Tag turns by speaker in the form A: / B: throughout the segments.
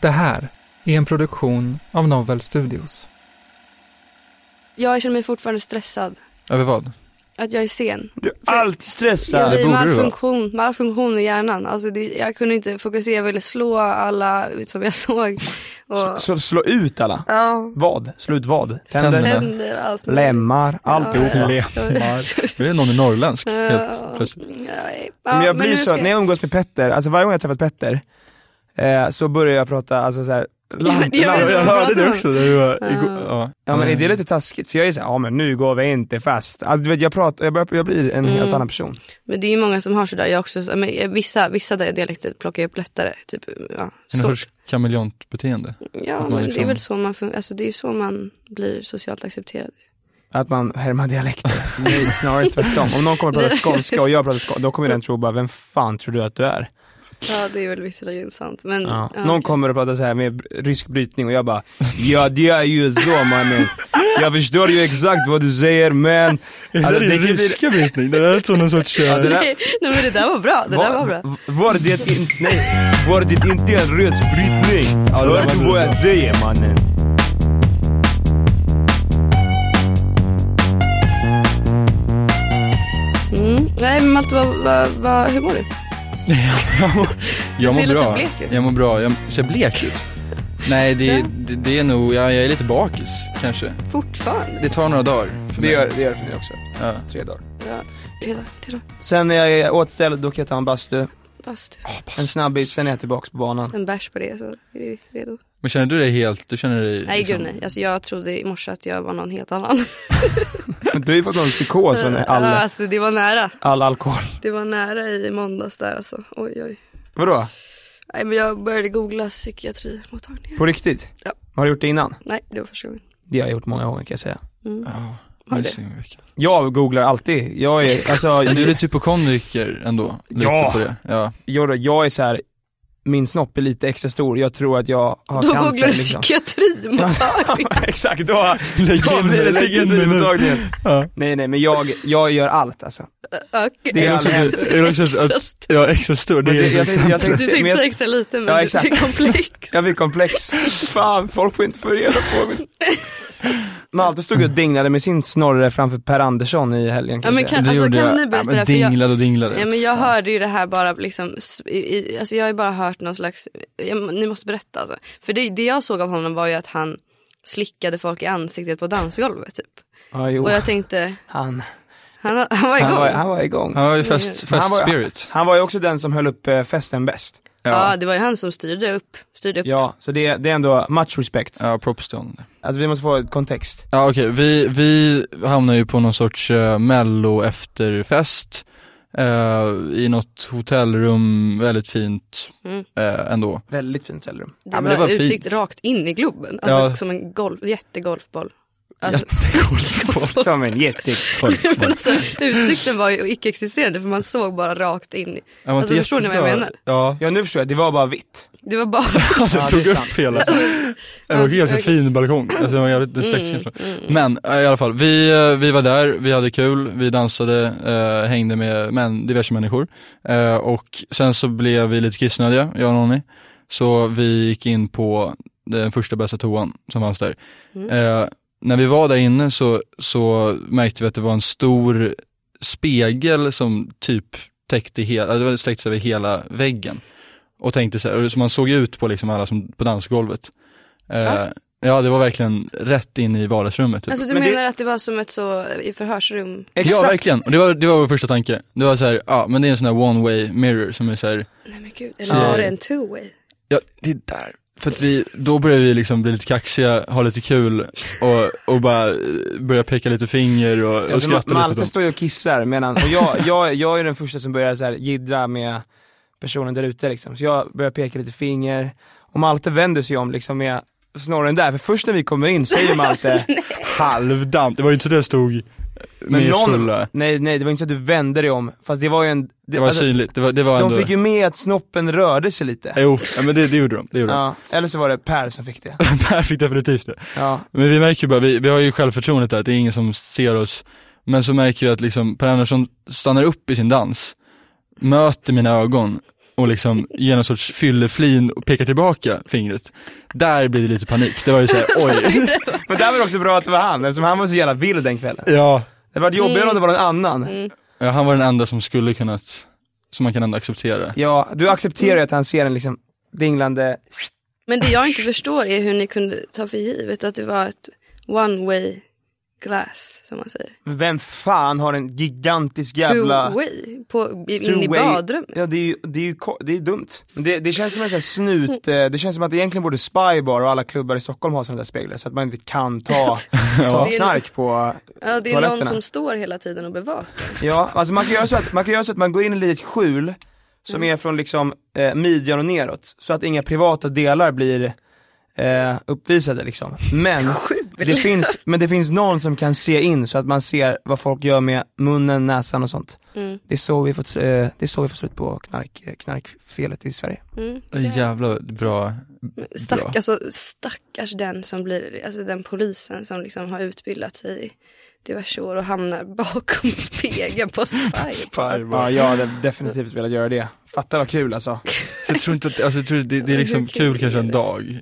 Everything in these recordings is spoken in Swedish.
A: Det här är en produktion av Novel Studios.
B: Jag känner mig fortfarande stressad.
C: Över vad?
B: Att jag är sen.
D: Du är
B: För-
D: alltid
B: Jag
D: stressad.
C: det
B: blir
C: borde du vara.
B: malfunktion, malfunktion i hjärnan. Alltså det, jag kunde inte fokusera, jag ville slå alla ut som jag såg.
D: Så,
B: Och
D: så slå ut alla.
B: ja,
D: Vad? Slå ut vad? Tänder?
C: Tänderna.
B: tänder och allt. möjligt.
D: Lemmar? Alltihop.
B: Ja,
D: Ja,
B: ja.
C: Det är någon i norrländsk
B: Ja,
C: helt plötsligt.
B: nej. Ja,
D: Men jag blir
B: nu
D: så,
B: ska
D: när jag umgås med Petter, alltså varje gång jag träffat Petter, eh, så börjar jag prata alltså såhär, lant,
B: Ja, men
D: lant,
B: vet
C: Jag
B: vad
C: hörde
B: pratar
C: det
B: om?
C: också. Det var,
B: Ja.
C: igår, ja.
D: Ja men är det lite taskigt? För jag är såhär, ja men nu går vi inte fast. Alltså du vet, jag pratar, jag, börjar, jag blir en helt
B: Mm.
D: annan person.
B: Men det är ju många som har sådär. Jag också, men jag- vissa, vissa dialekter plockar jag upp lättare. Typ, ja,
C: En
B: stor-
C: sorts kameleontbeteende.
B: ja
C: man
B: men det
C: liksom-
B: är väl så man, fun- alltså, det är ju så man blir socialt accepterad.
D: Att man härmar dialekter. Nej, snarare tvärtom. Om någon kommer att prata skånska och jag pratar skånska, då kommer den tro bara, vem fan tror du att du är?
B: Ja det är väl visserligen sant. Men,
D: Ja.
B: ja,
D: Någon
B: okej.
D: kommer att prata så här med br- rysk brytning och jag bara, ja det är ju så mannen. Jag förstår ju exakt vad du säger men...
C: Alltså, det där är ryska brytning. Det där är som någon sorts... eh,
D: det där-
B: Nej, nej men det där var bra, det där var bra.
D: v- Var det inte, nej, var det inte en rysk brytning?
C: det
D: Hör
C: var
D: du
C: det
D: vad
C: bra.
D: jag säger mannen?
B: Mm. Nej men Malte, vad, vad, vad, hur mår du?
C: Jag mår- jag
B: ser
C: mår
B: lite
C: bra.
B: blek ut.
C: Jag mår bra. Jag ser blek ut. Nej, det, det, det är nog, jag, jag är lite bakis kanske.
B: Fortfarande?
C: Det tar några dagar för
D: Det
C: mig.
D: gör Ah, det gör det för mig också.
C: Ja.
D: Tre dagar.
B: Ja, det då, det då.
D: Sen när jag är återställd, då kan jag ta en bastu.
B: Bastu.
D: En snabbis, sen är jag tillbaks på banan.
B: En bärs på det så är det redo.
C: Men känner du dig helt, du känner dig
B: Nej
C: liksom-
B: gud nej, alltså, jag trodde i morse att jag var någon helt annan.
D: Men du har ju fått någon psykos från
B: Ja,
D: all,
B: alltså, det var nära.
D: all alkohol.
B: Det var nära i måndags där alltså. Oj oj.
D: Vadå?
B: Nej men jag började googla psykiatrimottagningar.
D: På riktigt?
B: Ja.
D: Har du gjort det innan?
B: Nej det var första gången. Mm.
D: Det har jag gjort många gånger kan jag säga.
C: Ja,
B: Har
C: nu
B: du?
C: ser vi veckan.
D: Jag googlar alltid. Jag är, alltså,
C: Men du är
D: jag,
C: lite hypokondriker ändå? Lite
D: Ja.
C: På det. ja!
D: jag, jag är så här. min snopp är lite extra stor. Jag tror att jag har
B: Då
D: cancer.
B: googlar du
D: liksom.
B: psykiatrimottagning.
D: Exakt, då,
C: Lägg
D: då
C: in mig,
D: blir det
C: lägg in
D: psykiatrimottagningen.
C: Ja.
D: Nej nej, men jag, jag gör allt alltså.
B: Okej.
D: Det är också-
B: Extra
C: det är också-
B: st-
C: Ja, extra stor.
D: Men det- jag
C: liksom-
D: tänkte- jag
B: Du
D: tänkte-
B: tyckte
D: men jag-
B: säga extra lite men
D: Ja,
B: ja,
D: exakt.
B: det är komplex.
D: Jag blir komplex. Fan, folk får inte få reda på mig. Malte stod och dinglade med sin snorre framför Per Andersson i helgen
B: Ja,
D: kan
B: men
D: jag säga.
B: kan, alltså, kan ni berätta det? här? För jag,
C: Dinglade och dinglade.
B: ja, men jag
C: Fan.
B: hörde ju det här bara liksom, s- i, i, alltså jag har ju bara hört någon slags, ja, men ni måste berätta alltså. För det, det jag såg av honom var ju att han slickade folk i ansiktet på dansgolvet typ.
D: Ja, jo.
B: Och jag tänkte,
D: Han,
B: han, han var igång.
D: han, var, han var igång.
C: Han Oh. var ju
B: Mm.
C: fest,
D: Men han
C: fest
D: var-
C: spirit.
D: Han var ju också den som höll upp eh, festen bäst.
B: ja.
C: Ja,
B: det var ju han som styrde upp, styrde upp.
D: Ja, så det, det är ändå much respect.
C: ja props till honom.
D: Alltså vi måste få ett kontext.
C: Ja okej, vi, vi hamnar ju på någon sorts uh, mello efterfest eh, i något hotellrum, väldigt fint
B: Mm.
C: eh, ändå.
D: Väldigt fint hotellrum.
B: Det,
C: Ja, men
B: var
C: det var fint.
B: utsikt rakt in i Globen, alltså
C: Ja.
B: som en golf, jättegolfboll. Alltså,
C: Jättegolfboll.
D: Som en jättekorv.
B: men alltså, utsikten var ju icke-existerande för man såg bara rakt in. i-
C: Det var
B: Alltså,
C: inte
B: förstår ni vad jag
C: jättebra.
B: menar?
C: Ja,
D: Ja nu förstår jag, det var bara vitt.
B: Det var bara...
C: alltså
D: Ja,
C: jag
D: det
C: tog
D: är sant.
C: upp hela. Det var en ganska fin balkong, alltså det var jävligt det är
B: Mm,
C: sexigt. Men eh, i alla fall, vi, eh, vi var där, vi hade kul, vi dansade, eh, hängde med män, diverse människor. Eh, och sen så blev vi lite kissnödiga, jag och Nonni. Så vi gick in på den första bästa toan som fanns där.
B: Mm.
C: Eh, när vi var där inne så, så märkte vi att det var en stor spegel som typ täckte hela, alltså, det sträckte sig över hela väggen. Och tänkte så här, och så man såg ut på liksom alla som, på dansgolvet. Eh,
B: Va?
C: Ja det var verkligen rätt in i vardagsrummet. Typ.
B: Alltså du
D: Men det-
B: menar att det var som ett så i förhörsrum?
C: Ja verkligen, och det var, det var vår första tanke. Det var så här, ja men det är en sån här one way mirror som är så här,
B: Nej men gud,
C: Så-
B: eller var det en two way?
C: ja det är där. För att vi, då började vi liksom bli lite kaxiga, ha lite kul och, och bara eh, börja peka lite finger och, och
D: Alltså,
C: skratta lite åt
D: Malte
C: dem.
D: står ju och kissar medan, och jag, jag, jag är den första som börjar så här jiddra med personen där ute liksom. Så jag börjar peka lite finger, och Malte vänder sig om liksom med snorren där, för först när vi kommer in säger Malte
C: Halvdant, det var ju inte så det stod med fulla.
D: nej nej det var inte så att du vände dig om, fast det var ju en... Det,
C: Det var
D: alltså,
C: synligt, det var, det var
D: de
C: ändå.
D: fick ju med att snoppen rörde sig lite.
C: Jo, ja, men det, det gjorde de. Det gjorde
D: Ja, eller så var det Per som fick det.
C: de. Per fick definitivt det.
D: Ja.
C: Men vi märker ju bara, vi, vi har ju självförtroendet där, att det är ingen som ser oss. Men så märker vi att liksom Per Andersson stannar upp i sin dans, möter mina ögon och liksom ger någon sorts fylleflin och pekar tillbaka fingret. Där blir det lite panik, det var ju såhär, oj.
D: Men där var det också bra att det var han, eftersom han var så jävla vild den kvällen.
C: Ja.
D: Det var jobbigare
B: Mm.
D: om det var någon annan.
C: ja, han var den enda som skulle kunnat, som man kan ändå acceptera.
D: Ja, du accepterar
B: Mm.
D: ju att han ser en liksom dinglande...
B: Men det jag inte förstår är hur ni kunde ta för givet att det var ett one way glass som man säger.
D: Men Vem fan har en gigantisk jävla...
B: Two way, på, i- in i
D: two-way-
B: badrummet.
D: Ja det är ju, det är ju ko- det är dumt. Men Det, det känns som en sån här snut, eh, det känns som att egentligen borde Spybar och alla klubbar i Stockholm ha såna där speglar så att man inte kan ta, ta
B: Det är-
D: knark på
B: Ja, det är någon
D: toaletterna.
B: som står hela tiden och bevakar.
D: Ja, alltså man kan göra så att man, kan göra så att man går in i ett litet skjul som
B: Mm.
D: är från liksom eh, midjan och neråt, så att inga privata delar blir eh, uppvisade liksom. Men det, finns, men det finns någon som kan se in så att man ser vad folk gör med munnen, näsan och sånt.
B: Mm.
D: Det är så vi får, eh, det är så vi får slut på knark, eh, knarkfelet i Sverige.
B: Mm.
C: Det är Jävla bra,
B: Men Stack, alltså, stackars den som blir, alltså den polisen som liksom har utbildat sig i diverse år och hamnar bakom spegeln på Spy.
D: Ja, jag hade definitivt velat göra det. Fatta vad kul alltså.
C: Så jag tror inte att, alltså jag tror det, det är liksom
B: Hur
C: kul,
B: kul är
C: kanske en
B: det?
C: dag.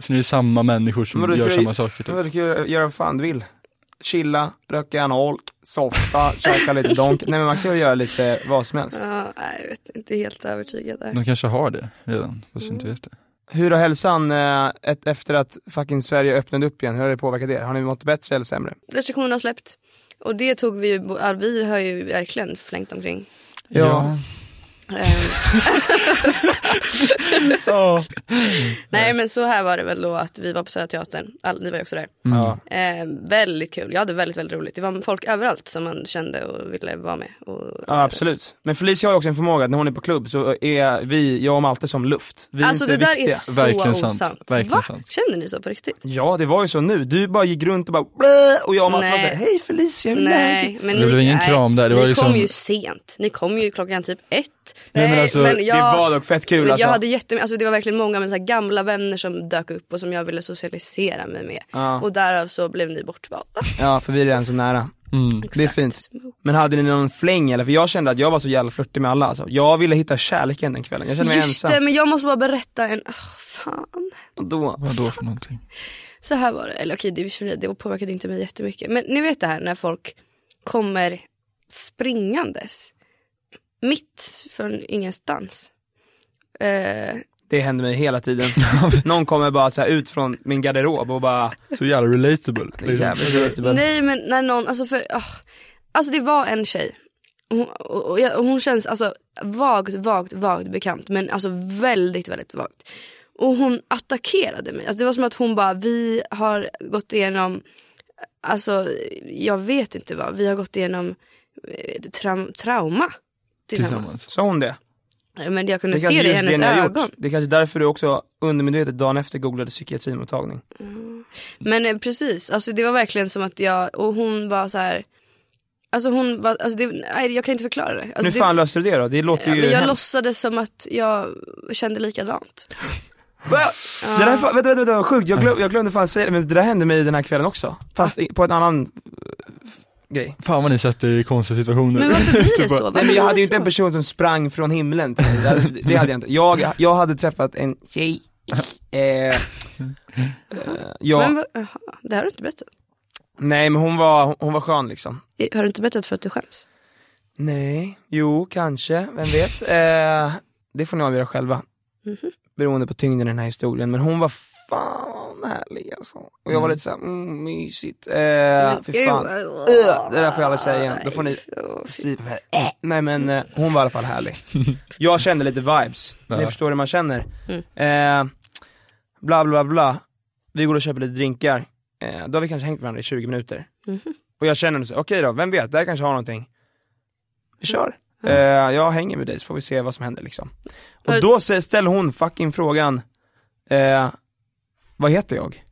C: Sen är det samma människor som
D: Men då
C: gör
D: tror jag-
C: samma saker typ.
D: Du kan ju göra vad fan du vill. Chilla, röka en holk, softa, käka lite donk. Nej men man kan ju göra lite vad som helst.
B: Ja, nej, jag vet inte, helt övertygad där.
C: De kanske har det redan, fast inte vet det.
D: Hur har hälsan eh, ett, efter att fucking Sverige öppnade upp igen, hur har det påverkat er? Har ni mått bättre eller sämre?
B: Restriktionerna har släppt. Och det tog vi ju, ja, vi har ju verkligen flängt omkring.
D: Ja.
B: Ehm,
C: Ja.
B: nej men så här var det väl då att vi var på Södra Teatern, All, ni var ju också där.
C: Mm.
D: Ja.
B: Ehm, väldigt kul, jag hade väldigt väldigt roligt. Det var folk överallt som man kände och ville vara med. Och,
D: ja, absolut. Men Felicia har ju också en förmåga att när hon är på klubb så är vi, jag och Malte som luft. Vi är
B: alltså det
D: inte
B: där
D: viktiga.
B: är så
C: Verkligen sant.
B: osant.
C: Verkligen
B: Va?
C: sant.
B: Känner ni så på riktigt?
D: Ja, det var ju så nu. Du bara gick runt och bara "Blä", och jag och Malte
B: Nej.
D: var såhär, hej Felicia, hur är läget?
B: Nej, men
C: Det
B: ni,
C: blev ingen
B: nej,
C: kram där, det
B: ni
C: var liksom-
B: kom ju sent. Ni kom ju klockan typ ett.
C: Nej, men alltså, det
D: Det var dock fett kul
B: men
D: alltså.
B: Jag hade jättemycket, alltså det var verkligen många men så här gamla vänner som dök upp och som jag ville socialisera mig med.
D: Ja. Mm.
B: Och därav så blev ni bortvalda. Alltså,
D: ja, för vi är redan så nära. Det är fint. Men hade ni någon fläng eller? För jag kände att jag var så jävla flörtig med alla alltså. Jag ville hitta kärleken den kvällen, jag kände mig
B: Just
D: ensam.
B: det, men jag måste bara berätta en, oh, fan.
D: Och Då,
C: Vad då för någonting?
B: Så här var det, eller okej det, i och för sig, det påverkade inte mig jättemycket. Men ni vet det här när folk kommer springandes. Mitt från ingenstans. Eh,
D: det hände mig hela tiden. Någon kommer bara så här ut från min garderob och bara,
C: Så jävla relatable. Liksom.
D: jävligt irriterande.
B: Nej men när någon, alltså för, ah. alltså det var en tjej. Hon, och, och, jag- och hon känns alltså vagt, vagt, vagt bekant men alltså väldigt, väldigt vagt. Och hon attackerade mig. Alltså det var som att hon bara, vi har gått igenom, alltså jag vet inte vad, vi har gått igenom eh, tra- trauma tillsammans.
C: Tillsammans.
D: Sa hon det?
B: Men jag kunde
D: Det
B: se det i
D: just
B: hennes
D: ni har gjort.
B: ögon.
D: Det är kanske därför du också undermedvetet dagen efter googlade psykiatrimottagning.
B: Alltså, Men eh, precis, alltså det var verkligen som att jag, och hon var så här. Alltså hon var, alltså det, nej, jag kan inte förklara det. Alltså
D: nu
B: det
D: fan löste du det då? Det låter
B: ja,
D: ju
B: men jag
D: hemskt.
B: låtsades som att jag kände likadant.
D: Va? Det där är fan, vänta, vänta, vänta, vad sjukt. Jag, glöm, jag glömde fan säga det, men det där hände mig den här kvällen också. Fast i, på en annan eh, f- grej.
C: Fan vad ni sätter er i konstiga situationer.
B: Men varför blir det så?
D: Typ Nej men jag hade ju inte en
B: en
D: person som sprang från himlen till mig. Det hade- Det hade jag inte. Jag, jag hade träffat en tjej, eh, eh, ja,
B: Men, va- jaha, det här har du inte berättat.
D: nej men hon var, hon var skön liksom.
B: Har du inte berättat för att du skäms?
D: Nej, jo, kanske, vem vet. Eh, det får ni avgöra själva.
B: Mhm.
D: Beroende på tyngden i den här historien. Men hon var fan härlig alltså. Och jag var lite såhär, mm, mysigt. Eh,
B: Men
D: fy
B: gud,
D: fan.
B: alltså.
D: Öh, det där får jag aldrig säga igen. Då får ni
B: Åh, fy.
D: strypa mig. Eh, Nej men eh, hon var i alla fall härlig. Jag kände lite vibes. Ni
C: Ja.
D: förstår hur man känner. Eh, bla bla bla. Vi går och köper lite drinkar. Eh, då har vi kanske hängt varandra i 20 minuter. Och jag känner så här, okej då, vem vet, det här kanske har någonting. Vi kör. Eh, jag hänger med dig så får vi se vad som händer liksom.
B: Har-
D: Och då sä- ställer hon fucking frågan, eh, vad heter jag?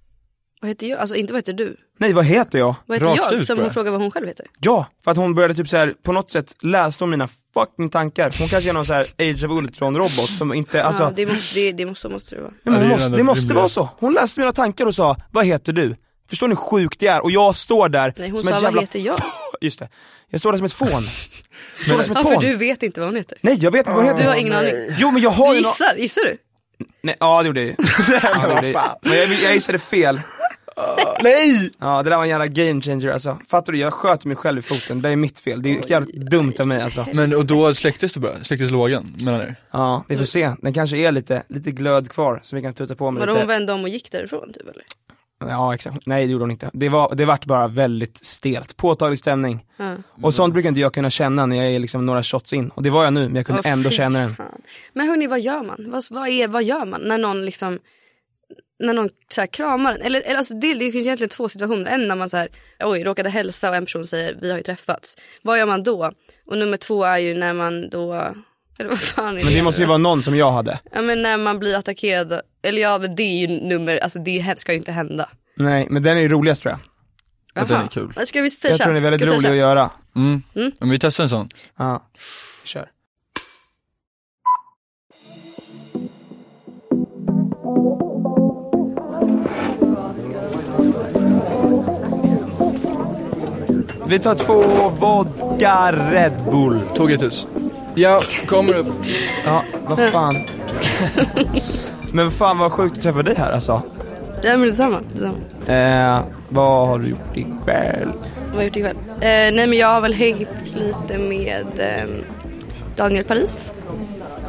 B: Vad heter jag? Alltså inte vad heter du?
D: Nej vad heter jag?
B: Vad heter
C: Rakt
B: jag?
C: ut
B: Som hon
C: bara.
B: frågar vad hon själv heter.
D: Ja, för att hon började typ så här på något sätt läste om mina fucking tankar. Hon kanske är någon så här Age of Ultron-robot som inte, alltså,
B: ja,
D: det,
B: det måste, det, det måste, så måste det vara.
D: men
C: Ja, det
D: hon
C: är
D: måste,
C: ändå
D: det måste
C: rimligt.
D: vara så. Hon läste mina tankar och sa, vad heter du? Förstår ni hur sjukt det är? Och jag står där
B: Nej hon
D: som ett
B: sa
D: jävla,
B: vad heter jag?
D: just det, jag står där som ett fån. Jag står där som ett
B: Ja
D: fån.
B: för du vet inte vad hon heter.
D: Nej jag vet inte vad hon heter.
B: Du har ingen aning.
D: Jo men jag har
B: Du
D: ju nå-
B: gissar, gissar du?
D: Nej, ja det gjorde jag ju. Ja, det gjorde jag ju. Men jag, jag gissade fel. Nej! Ja det där var en jävla game changer alltså. Fattar du? Jag sköt mig själv i foten, det är mitt fel. Det är jävligt dumt av mig alltså.
C: Men och då släcktes det bara, släcktes lågan mellan er?
D: Ja, vi får se. Den kanske är lite, lite glöd kvar så vi kan tuta på med
B: Vadå hon
D: lite.
B: vände om och gick därifrån typ eller?
D: Ja, exakt. Nej, det gjorde hon inte. Det, var, det vart bara väldigt stelt. Påtaglig stämning.
B: Ja. Mm.
D: Och sånt brukar inte jag kunna känna när jag är liksom några shots in. Och det var jag nu, men jag kunde
B: Ja,
D: ändå
B: fy
D: känna den.
B: fan. Men hörni, vad gör man? Vad, vad, är, vad gör man när någon liksom när någon så här kramar en. Eller, eller alltså det, det finns egentligen två situationer. En när man så här, oj, råkade hälsa och en person säger vi har ju träffats. Vad gör man då? Och nummer två är ju när man då, eller vad fan är
D: Men det måste ju vara någon som jag hade.
B: Ja men när man blir attackerad, eller ja men det är ju nummer, alltså det hä- ska ju inte hända.
D: Nej, men den är ju roligast tror jag.
C: Ja, den är
B: Jaha.
C: kul.
B: Men Ska vi stasha?
D: Jag tror den är väldigt
B: Ska vi
D: rolig
B: stasha?
D: att göra.
C: Mm. Men vi testar en sån.
D: Ja, kör. Vi tar två vodka Red Bull.
C: Tåget hus. Ja, kommer upp.
D: Ja, vad fan. Mm. Men fan vad sjukt att träffa dig här alltså.
B: Ja men detsamma. detsamma.
D: Eh, vad har du gjort ikväll?
B: Vad har jag gjort ikväll? Eh, nej men jag har väl hängt lite med ehm, Daniel Paris.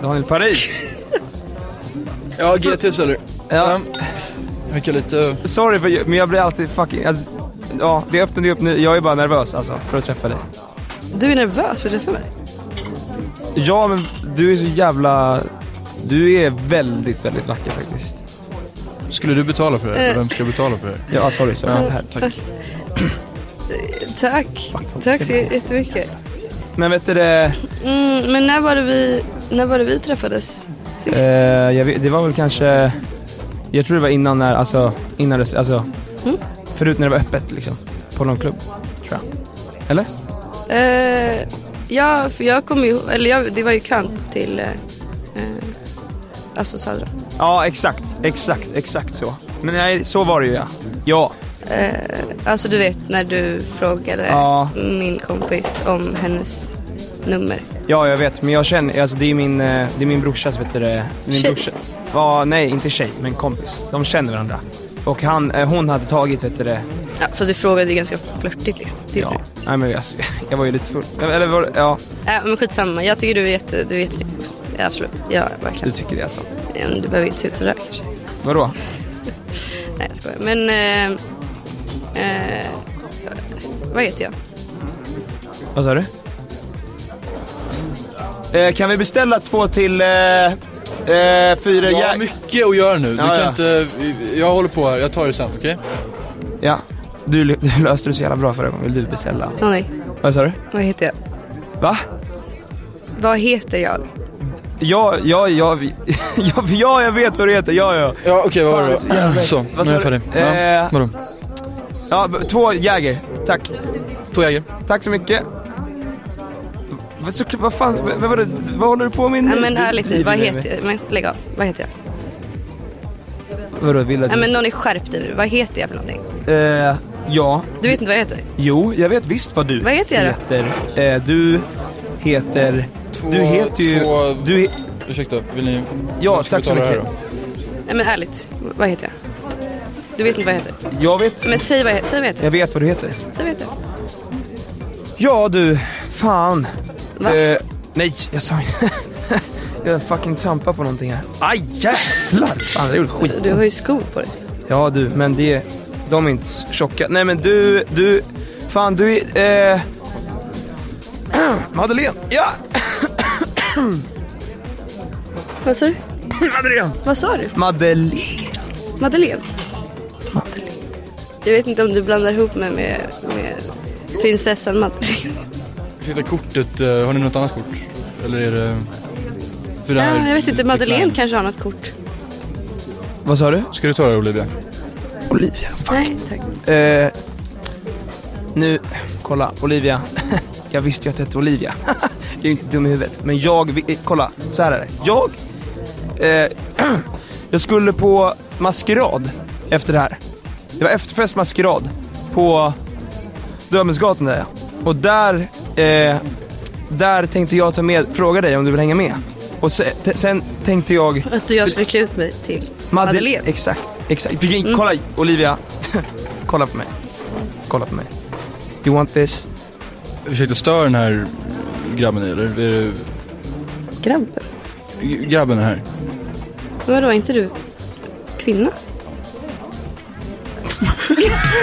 D: Daniel Paris.
C: Ja, GT säljer.
D: Ja,
C: Vilka lite...
D: sorry för, men jag blir alltid fucking... jag- Ja, det är öppet, det är öppet nu. Jag är bara nervös alltså för att träffa dig.
B: Du är nervös för att träffa mig?
D: Ja men du är så jävla... Du är väldigt, väldigt vacker faktiskt.
C: Skulle du betala för det här? Vem ska betala för det här?
D: Ja, ah, sorry. sorry. Mm. Det här.
C: tack.
B: Tack. Tack så jättemycket.
D: Men vet du det,
B: Mm, men när var det vi, när var det vi träffades sist?
D: eh, jag vet, det var väl kanske... Jag tror det var innan när, alltså, innan det, alltså... Förut när det var öppet liksom. På någon klubb, tror jag. Eller?
B: Eh, ja, för jag kommer ju, eller jag, det var ju kön till eh, eh, alltså Södra.
D: Ja, exakt, exakt, exakt så. Men nej, så var det ju ja. Ja.
B: Alltså du vet när du frågade
D: Ja.
B: min kompis om hennes nummer.
D: Ja, jag vet. Men jag känner, alltså det är min, eh, det är min brorsas, vet du det. det är Min
B: Tjej.
D: brorsa. Ja, nej, inte tjej, men kompis. De känner varandra. Och han, eh, hon hade tagit, vet du det.
B: Ja, fast du frågade ju ganska flörtigt liksom. Det
D: Ja,
B: ja.
D: nej men jag, jag var ju lite full. Eller var ja,
B: Äh, men skitsamma, jag tycker du är, jätte, du är jättesnygg också. Ja, absolut, ja
D: du
B: verkligen.
D: tycker det alltså.
B: Men Du behöver inte se ut sådär kanske.
D: Vadå?
B: Nej jag skojar. Men... Eh, eh, vad heter jag?
D: Vad sa du? Eh, kan vi beställa två till eh, eh, fyra
C: Jag
D: ja,
C: har mycket att göra nu. Du
D: Ja,
C: kan
D: ja.
C: inte... Jag håller på här. Jag tar det sen, okej?
D: ja. Du, lö- du löste det så jävla bra förra gången. Vill du beställa?
B: Åh nej,
D: Vad sa du?
B: vad heter jag?
D: Va?
B: Vad heter jag?
D: Ja, ja, ja, vi, ja, ja, jag vet vad du heter. Ja, ja.
C: Ja, okej. vad
D: Fan,
C: var
D: så
C: det då?
D: jävla
C: Så, nu
D: Vad
C: är jag
D: sa du?
C: färdig. Ja,
D: Eh.
C: vadå?
D: ja b- två Jäger. Tack.
C: Två jägare.
D: Tack så mycket. Vad- Så, vad fan, vad, vad, var det- vad håller du på med nu?
B: Nej men
D: Du
B: ärligt nu,
D: driver
B: vad
D: med
B: heter
D: mig.
B: jag? Men lägg av, vad heter jag?
D: Vadå, vill du att
B: Nej men
D: jag-
B: någon är skärpt nu, vad heter jag för någonting?
D: Eh, ja,
B: Du vet inte vad jag heter?
D: Jo, jag vet visst vad du
B: Vad heter jag
D: heter. Eh, du heter... du heter ju...
C: två-
D: Du he,
C: Ursäkta, vill ni...
D: ja,
C: vem ska
D: tack så
C: betala det
D: mycket.
C: här
B: Nej men ärligt, vad heter jag? Du vet inte vad jag heter?
D: Jag vet,
B: Men säg vad jag, säg vad jag heter.
D: jag vet vad du heter.
B: Säg vad jag heter.
D: Ja du, fan.
B: Va?
D: Eh, nej, jag sa inte... jag fucking trampar på någonting här. Aj jävlar! Fan det gjorde skit.
B: Du har ju skor på dig.
D: Ja du, men det... De är inte så tjocka. Nej men du, du... Fan du är... Eh... Madeleine! Ja!
B: Vad sa du?
D: Madeleine!
B: Vad sa du?
D: Madeleine!
B: Madeleine? Jag vet inte om du blandar ihop mig med, med prinsessan Madeleine.
C: Ursäkta kortet, eh, har ni något annat kort? Eller är det... För det
B: Ja,
C: här-
B: jag vet inte, Madeleine
C: Decline.
B: kanske har något kort.
D: Vad sa du?
C: Ska du ta det Olivia?
D: Olivia, fuck.
B: Nej, tack.
D: Eh, nu, kolla, Olivia. jag visste ju att det hette Olivia. jag är inte dum i huvudet. Men jag, vi- eh, kolla, så här är det. Jag, eh, jag skulle på maskerad efter det här. Det var efterfest maskerad på Dömensgatan där Och där, eh, där tänkte jag ta med, fråga dig om du vill hänga med. Och se, t- sen tänkte jag...
B: Att du och jag skulle klä ut mig till
D: Madde-
B: Madeleine.
D: Exakt, exakt. Vi, Kolla Olivia, kolla på mig. Kolla på mig. You want this?
C: Ursäkta, stör den här grabben eller? Är det...
B: Grampen.
C: Grabben är här.
B: Men vadå, är inte du kvinna?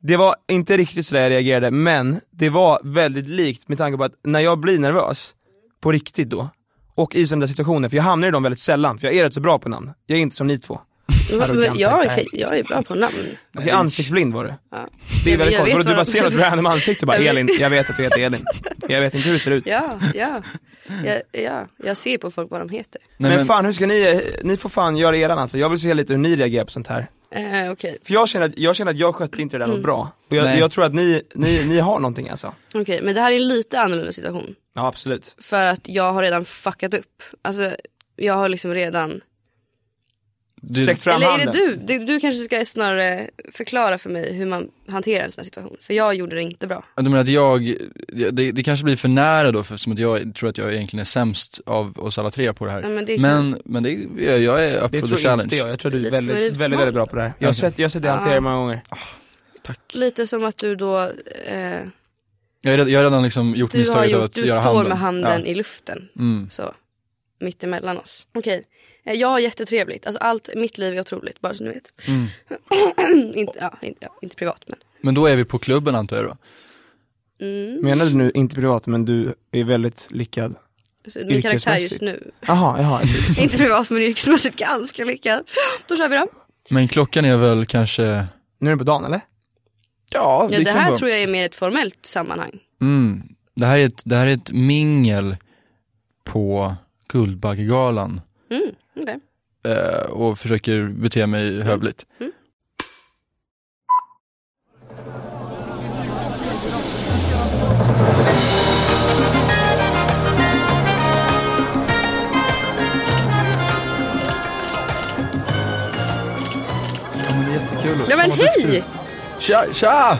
D: Det var inte riktigt sådär jag reagerade, men det var väldigt likt med tanke på att när jag blir nervös, på riktigt då, och i sådana där situationer, för jag hamnar i dem väldigt sällan, för jag är rätt så bra på namn. Jag är inte som ni två.
B: Men Jag, är- jag är bra på namn.
D: Att jag är ansiktsblind var du.
B: Ja.
D: Det är väldigt
B: Jag vet
D: konstigt. Och Du
B: vad
D: bara
B: de-
D: ser något random ansikte och bara,
B: Jag vet.
D: Elin, jag vet att du heter Elin. Jag vet inte hur du ser ut.
B: Ja, ja. ja, ja. Jag ser på folk vad de heter.
C: Nej,
D: men fan hur ska ni, ni får fan göra eran alltså. Jag vill se lite hur ni reagerar på sånt här.
B: Eh, Okej,
D: För jag känner att jag, känner att jag skötte inte det där
B: Mm.
D: något bra. Och jag,
C: Nej.
D: jag tror att ni, ni, ni har någonting alltså.
B: Okej, men det här är en lite annorlunda situation.
D: Ja absolut.
B: För att jag har redan fuckat upp. Alltså, jag har liksom redan...
C: Det-
D: Sträckt fram
B: Eller är
D: handen.
B: det du? Det- Du kanske ska snarare förklara för mig hur man hanterar en sån här situation. För jag gjorde det inte bra.
C: Ja, Du menar att jag, det, det kanske blir för nära då för, som att jag tror att jag egentligen är sämst av oss alla tre på det här.
B: Ja, men det är-
C: men, men det, är- jag är up
D: Det
C: for
D: tror
C: the
D: jag
C: challenge.
D: inte jag, jag Mm. tror du är
B: Lite som
D: väldigt,
B: en
D: väldigt, väldigt, bra på det här. Jag har
C: Okej.
D: sett, jag har sett dig hantera det många gånger.
B: Lite som att du då... Eh,
C: Jag, är red- jag har redan liksom gjort
B: du har
C: misstaget av
B: gjort,
C: att
B: du
C: göra
B: står
C: handen.
B: med handen
C: Ja.
B: i luften.
C: Mm.
B: Så, mitt emellan oss. Okej, Eh, jag har jättetrevligt. Alltså allt, mitt liv är otroligt, bara så ni vet. inte, ja, inte, ja, inte privat men.
C: mm. Men då är vi på klubben antar jag då.
B: Mm.
D: Menar du nu, inte privat men du är väldigt lyckad?
B: Alltså, min karaktär just
D: Yrkesmässigt.
B: nu.
D: Jaha, jaha. jag tror-
B: inte privat men yrkesmässigt ganska lyckad. Då kör vi då.
C: Men klockan är väl kanske,
D: Nu är det på dagen eller?
C: ja,
B: Ja, det
C: vi kan
B: här
C: vara-
B: tror jag är mer ett formellt sammanhang.
C: Mm. Det här är ett, det här är ett mingel på Guldbaggegalan
B: Mm, okej.
C: eh, och försöker bete mig hövligt.
B: Mm.
C: Ja, men det är jättekul.
B: Ja men hej!
C: Tja, tja!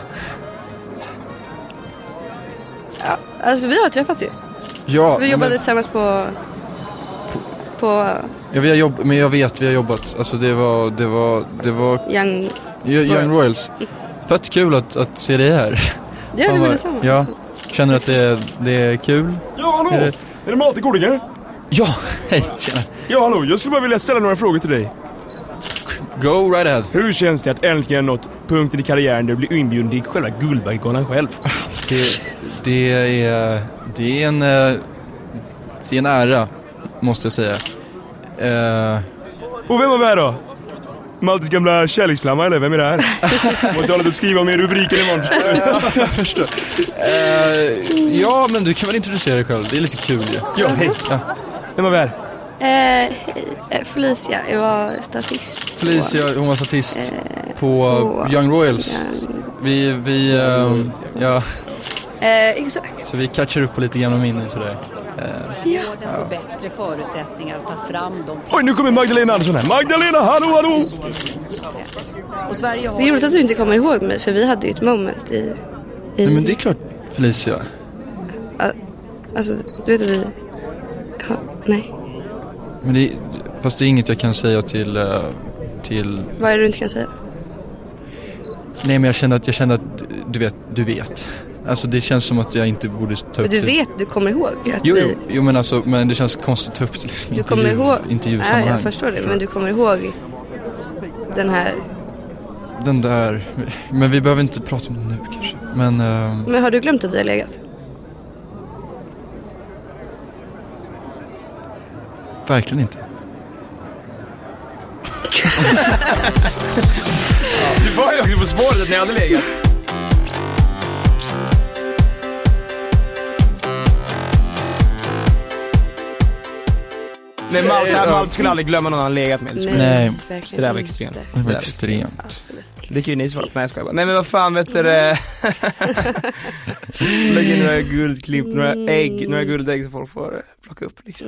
B: Alltså vi har träffats ju.
C: Ja,
B: Vi
C: nej,
B: jobbade
C: men,
B: tillsammans på... På
C: ja, vi har jobb, men jag vet, vi har jobbat. Alltså det var, det var, det var
B: Young...
C: Young
B: Royals.
C: Royals. Fett kul att, att se dig här.
B: Ja,
C: Fan,
B: det var
C: vad-
B: detsamma.
C: Ja. Känner du att det är, det är kul?
D: Ja, hallå!
C: Är
D: Är
C: det-
D: det mat i godingar?
C: Ja, hej, tjena.
D: Ja, hallå, jag skulle bara vilja ställa några frågor till dig.
C: Go right ahead.
D: Hur känns det att äntligen ha nått punkten i karriären där du blir inbjuden till själva Guldbaggegalan själv?
C: Det, det, är, det, är en, eh, det är en ära, måste jag säga. Eh,
D: Och vem var med då? Maltes gamla kärleksflamma eller vem är det här? Måste jag hålla på att skriva med rubriken imorgon förstår du?
C: jag förstår. Eh, ja, men du kan väl introducera dig själv? Det är lite kul ju.
D: Ja, hej.
C: Ja.
D: Vem var med?
B: Eh, hej, eh, Felicia, jag var statist. på-
C: Felicia, hon var statist på
B: Eh, på
C: Young Royals.
B: Young-
C: Vi, vi, ehm, ja,
B: Eh, exakt.
C: så vi catchar upp på lite gamla minnen sådär.
D: Oj, nu kommer Magdalena Andersson här. Magdalena, hallå, hallå!
B: Det är roligt att du inte kommer ihåg mig för vi hade ju ett moment i... i
C: Nej men det är klart Felicia.
B: Alltså, du vet att vi... Ja, nej,
C: Men det, fast det är inget jag kan säga till, eh, till
B: vad är det du inte kan säga?
C: Nej men jag kände att, jag kände att du vet, du vet. Alltså det känns som att jag inte borde ta upp
B: Du
C: det.
B: vet, du kommer ihåg att
C: Typ. Jo,
B: vi...
C: jo, jo men alltså, men det känns konstigt att ta upp det liksom, i
B: Du kommer
C: intervju-
B: ihåg...
C: intervjusammanhang.
B: jag förstår det, men du kommer ihåg den här...
C: Den där, men vi behöver inte prata om det nu kanske. Men, ehm,
B: Men har du glömt att vi har legat?
C: verkligen inte.
D: Det var ju också på spåret att ni hade legat. Nej, Malte, Malte skulle aldrig glömma någon han legat med.
B: Nej,
C: Nej.
B: verkligen
D: Det där var
B: inte.
D: extremt.
C: Det var
D: där-
C: extremt.
B: Alldeles
D: Det kan ju ni svara på. Nej jag skojar bara. Nej men vad fan vet du det? Lägg in några guldklimp, några ägg, några guldägg så folk får plocka upp liksom.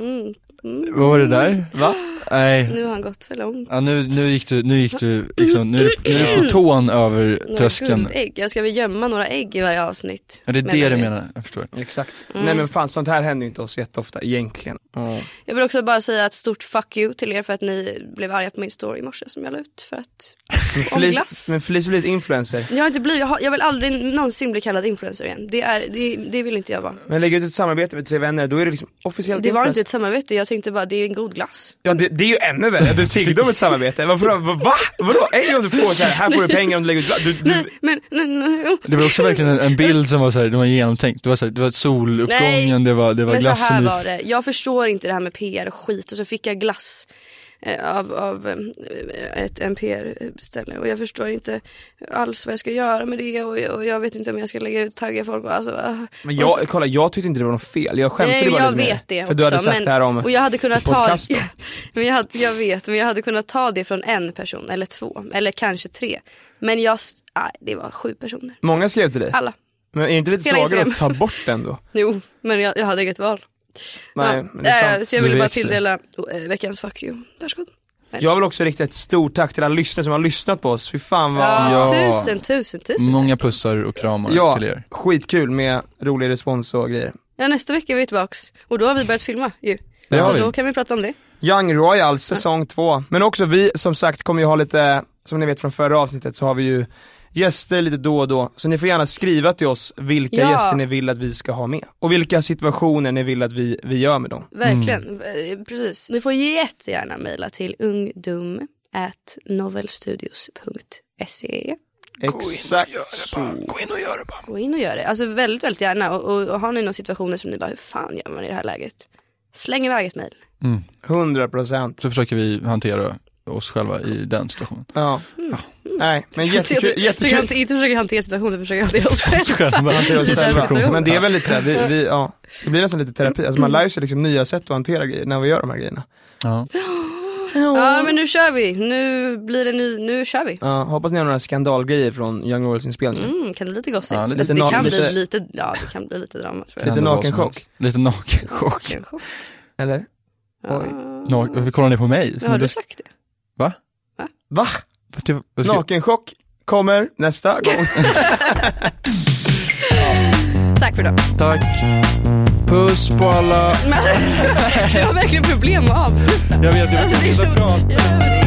B: Mm.
C: Vad var det där?
D: Va?
C: Nej.
B: Nu har han gått för långt.
C: Ja, nu, nu gick du, nu gick du liksom, nu är du, nu är du på tån över
B: Några
C: tröskeln.
B: guldägg. Jag ska väl gömma några ägg i varje avsnitt.
C: Ja, det är det du
B: vi.
C: menar, jag förstår.
D: Exakt.
B: Mm.
D: Nej men fan sånt här händer ju inte oss jätteofta egentligen.
B: Jag vill också bara säga ett stort fuck you till er för att ni blev arga på min story i morse som jag la ut för att Om
D: Men Felice,
B: glass.
D: men Felice blir ett influencer.
B: Jag har inte blivit, jag, har, jag vill aldrig någonsin bli kallad influencer igen. Det, är, det, det vill inte jag vara.
D: Men lägger ut ett samarbete med Tre Vänner, då är det liksom officiellt
B: Det var
D: influencer.
B: inte ett samarbete, jag tänkte bara det är en god glass.
D: Ja det, det är ju ännu värre, du tiggde om ett samarbete. Varför, va? va? Vadå? En gång du får så här, här får du pengar om du lägger ut du, du,
B: Nej, men, nej, nej,
C: Det var också verkligen en, en bild som var så här, det var genomtänkt. Det var så här, det var soluppgången,
B: Nej,
C: det var, det var
B: men så
C: glassen
B: här
C: i-
B: var det, jag förstår inte det här med PR och skit och så fick jag glass eh, av, av eh, ett en PR-ställe och jag förstår inte alls vad jag ska göra med det och, jag- och jag vet inte om jag ska lägga ut tagga folk och alltså, ah.
D: Men
B: Och
D: jag, kolla jag tyckte inte det var något fel, jag skämtade
B: Nej, men
D: bara
B: jag
D: lite med
B: vet
D: dig.
B: det
D: För du hade
B: också,
D: sagt
B: men-
D: det här om
B: Och jag hade kunnat ta
D: podcast då.
B: men jag, hade, jag vet, men jag hade kunnat ta det från en person eller två eller kanske tre. Men jag, s- nej, det var sju personer.
D: Många skrev till dig.
B: Alla.
D: Men är det inte lite
B: Hela
D: svagare att ta
B: Instagram.
D: bort den då?
B: Jo, men jag, jag hade inget val.
D: Nej,
B: Ja.
D: men det är
B: Eh,
D: sant.
B: Så jag
C: Du
B: ville bara
C: vet det.
B: tilldela eh, veckans fuck you. Varsågod.
D: Jag vill också rikta ett stort tack till alla lyssnare som har lyssnat på oss. Fy fan vad...
B: Ja,
C: Ja. Mm.
B: Tusen, tusen, tusen.
C: Många pussar och kramar
D: Ja,
C: till er.
D: skitkul med rolig respons och grejer.
B: Ja, nästa vecka är vi tillbaks och då har vi börjat filma ju.
C: Det har
B: Så
C: vi.
B: då kan vi prata om det.
D: Young Royals säsong 2. Men också vi som sagt kommer ju ha lite, som ni vet från förra avsnittet så har vi ju gäster lite då och då. Så ni får gärna skriva till oss vilka
B: Ja.
D: gäster ni vill att vi ska ha med. Och vilka situationer ni vill att vi, vi gör med dem.
B: Verkligen, Eh, precis. Ni får jättegärna mejla till ungdom at novelstudios.se.
D: Exakt så. Gå in och gör det bara.
B: Gå in och gör det. Alltså väldigt, väldigt gärna. Och, och, och har ni några situationer som ni bara, hur fan gör man i det här läget? Släng iväg ett mejl.
C: Mm.
D: 100%.
C: Så försöker vi hantera oss själva i den situationen.
D: Ja. Nej, men jättekul.
B: Du kan inte,
D: jättekul.
B: inte försöka hantera situationen, försöka hantera oss själva.
D: Hantera oss
B: Det är
D: själva.
B: situationen.
D: Men det är väl lite såhär, vi, vi, ja, det blir nästan lite terapi. Alltså man lär sig liksom nya sätt att hantera grejer när vi gör de här grejerna.
C: Ja.
B: Ja men nu kör vi, nu blir det ny, nu kör vi.
D: Ja, hoppas ni har några skandalgrejer från Young Royals inspelningen.
B: Mm, kan det bli lite gossip?
C: Ja, lite
B: Alltså, det,
D: na-
B: kan
D: lite-
B: bli lite, ja, det kan bli lite drama tror jag.
D: Lite
C: Kan det vara som
D: nakenchock.
C: helst. Lite nakenchock.
B: Kanske.
D: Eller?
B: Ja.
D: Oj.
C: Na- Varför kollar ni på mig?
B: Men Har du sagt det?
D: Va?
C: Typ, vad ska-
D: Nakenchock kommer nästa gång.
B: Tack för idag.
C: Tack. Puss på alla.
B: Men, jag har verkligen problem med att avsluta.
C: Jag vet, jag
B: Alltså, det är så- Ja, men det är-